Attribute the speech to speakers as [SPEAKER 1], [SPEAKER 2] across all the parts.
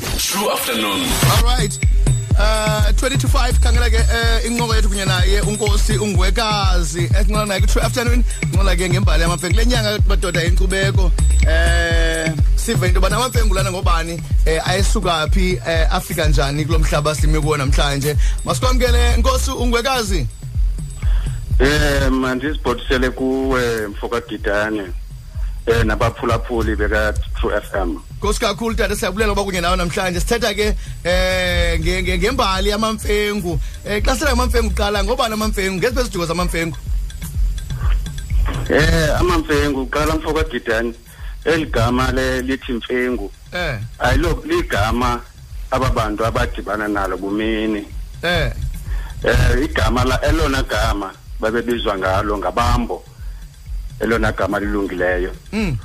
[SPEAKER 1] True afternoon.
[SPEAKER 2] all right Uh 20 to 5 khangela ke eh, inqoko yethu kunye naye unkosi ungwekazi esinqola naye ku-two afternoon nqola ke ngembali yamamfengu le nyanga madoda yenkcubeko eh sive into yoba namamfengulana ngobani eh ayesuka phi eh afika njani kulo mhlaba simi kuwo namhlanje masikwamkele nkosi ungwekazi
[SPEAKER 3] Eh mandizibhotisele kuwe mfokagidane eh nabaphulaphuli beka True FM.
[SPEAKER 2] Nkosi kakhulu tata siyabulela uba kunye nawe namhlanje sithetha ke eh nge- nge- ngembali yamamfengu eh xa sithetha ngamamfengu qala ngobani amamfengu ngeziphi iziduko zamamfengu
[SPEAKER 3] Eh amamfengu qala mfokagidane eligama le lithi mfengu
[SPEAKER 2] eh
[SPEAKER 3] ayilo ligama ababantu abadibana nalo bumini
[SPEAKER 2] eh
[SPEAKER 3] eh igama la elona gama babebizwa ngalo ngabambo elona gama lilungileyo
[SPEAKER 2] mm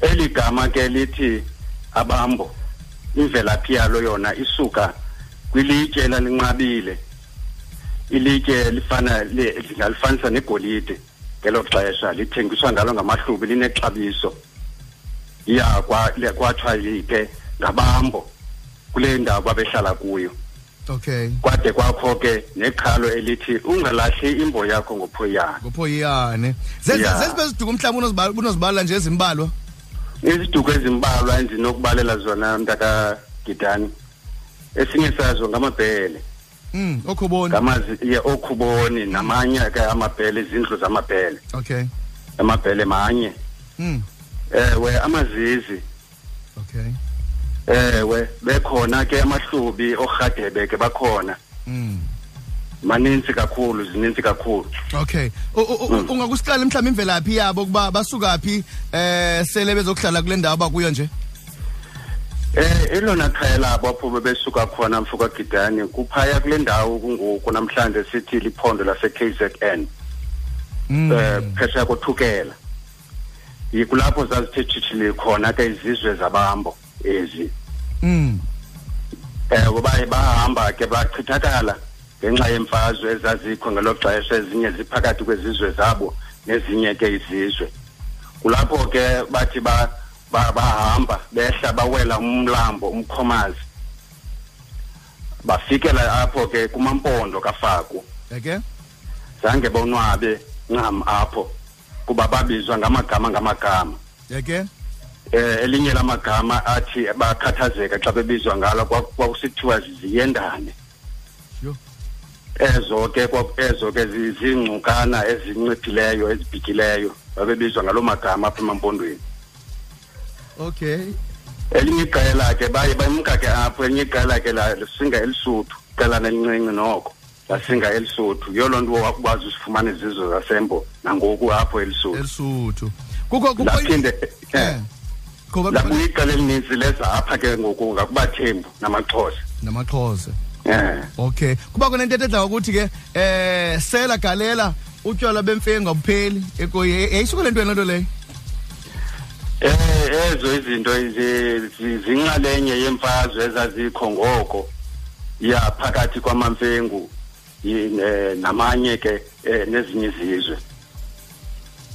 [SPEAKER 3] eligama ke lithi abambo imvelaphi yalo yona isuka kwilitye lalinqabile ilitye lifana li- lingalifanisa negolide ngelo xesha lithengiswa ngalo ngamahlubi linexabiso ya kwa- le- kwathiwa yike ngabambo kule ndawo babehlala kuyo
[SPEAKER 2] okay
[SPEAKER 3] kwade kwakho ke neqhalo elithi ungalahli imbo yakho ngophoyana
[SPEAKER 2] ngophoyiyane
[SPEAKER 3] Yeah.
[SPEAKER 2] zeziphi eziduko mhlawumbi unozibala- unozibala nje ezimbalwa
[SPEAKER 3] iziduko ezimbalwa endinokubalela zona mntaka gidani esinye sazo ngamabhele
[SPEAKER 2] mm okhuboni
[SPEAKER 3] ngamazi ye okhuboni namanye ke amabhele izindlu zamabhele
[SPEAKER 2] okay
[SPEAKER 3] amabhele manye
[SPEAKER 2] mm
[SPEAKER 3] ewe amazizi
[SPEAKER 2] okay
[SPEAKER 3] ewe bekhona ke amahlubi orhadebe ke bakhona
[SPEAKER 2] mm
[SPEAKER 3] maninzi kakhulu zininzi kakhulu
[SPEAKER 2] okay U- u- u-
[SPEAKER 3] Mm.
[SPEAKER 2] ungakusiqala mhlawumbi imvelaphi yabo kuba basuka phi eh sele bezokuhlala kule ndawo bakuyo nje
[SPEAKER 3] Eh elona khaya labo apho bebesuka khona mfuka Gidani kuphaya kule ndawo kungoku namhlanje sithi liphondo lase KZN.
[SPEAKER 2] Mm.
[SPEAKER 3] Eh phesha kothukela. Yikulapho zazithethithile khona ke izizwe zabambo ezi.
[SPEAKER 2] mm
[SPEAKER 3] Eh baye bahamba ke bachithakala ngenxa yemfazwe ezazikho ngelo xesha ezinye ziphakathi kwezizwe zabo nezinye ke izizwe. Kulapho ke bathi ba ba- bahamba behla bawela umlambo umkhomazi. Bafikela apho ke kumampondo kafaku.
[SPEAKER 2] eke
[SPEAKER 3] Zange bonwabe ncam apho kuba babizwa ngamagama ngamagama.
[SPEAKER 2] eke
[SPEAKER 3] Eh elinye lamagama athi bakhathazeka xa bebizwa ngalo kwaku- kwakusithiwa ziyendane.
[SPEAKER 2] yo
[SPEAKER 3] ezo ke kwa- ezo ke zi- ziingcukana ezinciphileyo ezibhityileyo babebizwa ngaloo magama apha emampondweni
[SPEAKER 2] okay
[SPEAKER 3] elinye iqela ke baye bamka ke apho elinye iqela ke la- lisinga elisuthu iqelana elincinci noko lasinga elisuthu yiyo loo nto wakwazi usifumana izizwe zasembo nangoku apho elisuthu
[SPEAKER 2] elisuthu kukho kukho
[SPEAKER 3] laphinde eh,
[SPEAKER 2] ngoba
[SPEAKER 3] labuya iqela elininzi lezapha ke ngoku ngakubathembu namaxhosa
[SPEAKER 2] namaxhosa
[SPEAKER 3] um
[SPEAKER 2] okay kuba kunentetho edla ngokuthi ke eh sela galela utywala bemfengu abupheli ekoye yayisuka eh, le nto lento leyo
[SPEAKER 3] Eh ezo izinto ezi- zi- zinxalenye yemfazwe ezazikho ngoko ya phakathi kwamamfengu yi- ne- namanye ke eh, nezinye izizwe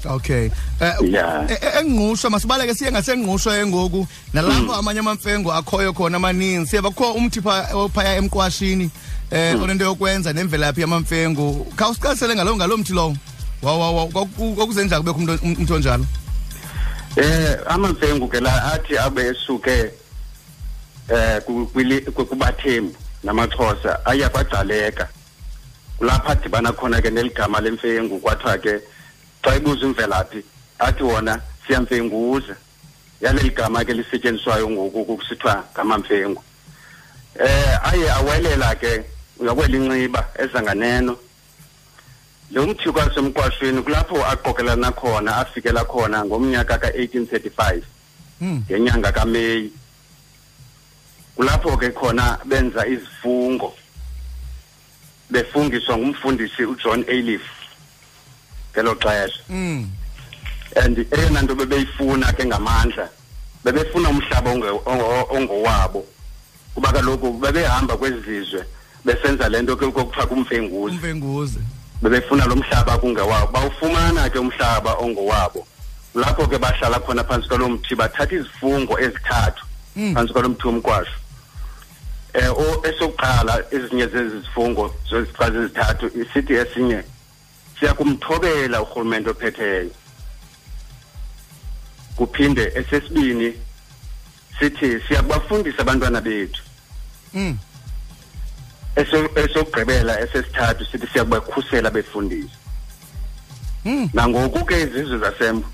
[SPEAKER 2] okay eh
[SPEAKER 3] Yeah.
[SPEAKER 2] e- e- engqusho masibaleke siye ngasengqusho engoku nalapho amanye amamfengu akhoyo khona amaninzi siye bakho umthipha ophaya emqwashini eh onento yokwenza nemvelaphi yamamfengu khawusiqalisele ngalo ngalo mthi lowo wa wa wa kokuzenja kubekho umuntu umuntu onjalo
[SPEAKER 3] eh amamfengu ke la athi abe esuke eh ku- kwili- ku- kubathembu namaxhosa aya kwagcaleka kulapha adibana khona ke neligama lemfengu kwathiwa ke xa ibuza imvelaphi athi wona siyamfenguza yaleli gama ke lisetyenziswayo ngoku kusithiwa ngamamfengu eh aye awelela ke uyakwelinxiba ezanganeno lo mthi kwasemqwashweni kulapho aqokelana khona afikela khona ngomnyaka ka-1835
[SPEAKER 2] hmm
[SPEAKER 3] ngenyanga kameyi kulapho ke khona benza izifungo befungiswa ngumfundisi ujohn aliff ngelo xesha
[SPEAKER 2] mm
[SPEAKER 3] and eyona nto bebeyifuna ke ngamandla bebefuna umhlaba onge- ongo- ongowabo kuba kaloku bebehamba kwezizwe besenza le nto ke kokuthiwa kumfenguzi
[SPEAKER 2] umfenguze
[SPEAKER 3] bebefuna lo mhlaba kungewabo bawufumana ke umhlaba ongowabo lapho ke bahlala khona phansi kwalo mthi bathatha izifungo ezithathu
[SPEAKER 2] Mm.
[SPEAKER 3] phansi kwalo mthi omkwasho eh o- esokuqala ezinye zezifungo zezichazi ezithathu isithi esinye siyakumthobela urhulumente ophetheyo kuphinde esesibini sithi siyabafundisa abantwana bethu
[SPEAKER 2] Mm.
[SPEAKER 3] Eso- esokugqibela esesithathu sithi siyakubakhusela befundise
[SPEAKER 2] Mm.
[SPEAKER 3] nangoku ke izizwe zasembo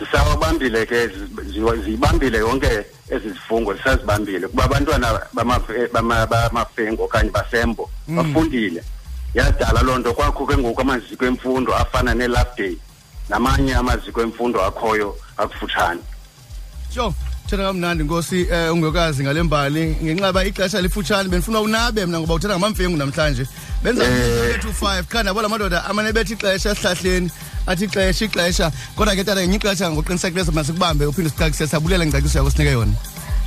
[SPEAKER 3] zisawabambile ke zi- zi- ziyibambile yonke ezi zifungo zisazibambile kuba abantwana bamafe- bama- bamafengo okanye basembo bafundile yadala loo nto kwakho ke ngoku amaziko emfundo afana ne-lap day namanye amaziko emfundo akhoyo akufutshane
[SPEAKER 2] sho thetha kamnandi nkosi um ungekazi ngale mbali ngenxa yoba ixesha lifutshane bendifuna unabe mna ngoba uthetha ngamamfengu namhlanje benza
[SPEAKER 3] Eh.
[SPEAKER 2] bethu five qha ndabo la madoda amane bethi ixesha esihlahleni athi ixesha ixesha kodwa ke tata ngenye ixesha ngoqinisekileyo masikubambe uphinde usichakise sabulela ngcakiso yakho sinike yona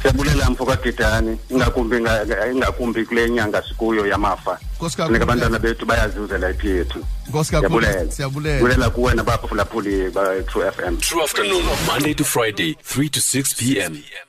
[SPEAKER 3] siyabulela mfo kadidani ingakumbi nga- nga- ingakumbi kule nyanga sikuyo yamafa
[SPEAKER 2] Nkosi kakhulu.
[SPEAKER 3] funeka abantwana bethu bayazuzela iphi yethu
[SPEAKER 2] Nkosi kakhulu. Siyabulela.
[SPEAKER 3] siyabulela kuwe nabaphulaphuli ba-true f m
[SPEAKER 1] True afternoon, Monday to Friday, 3 to 6 p.m.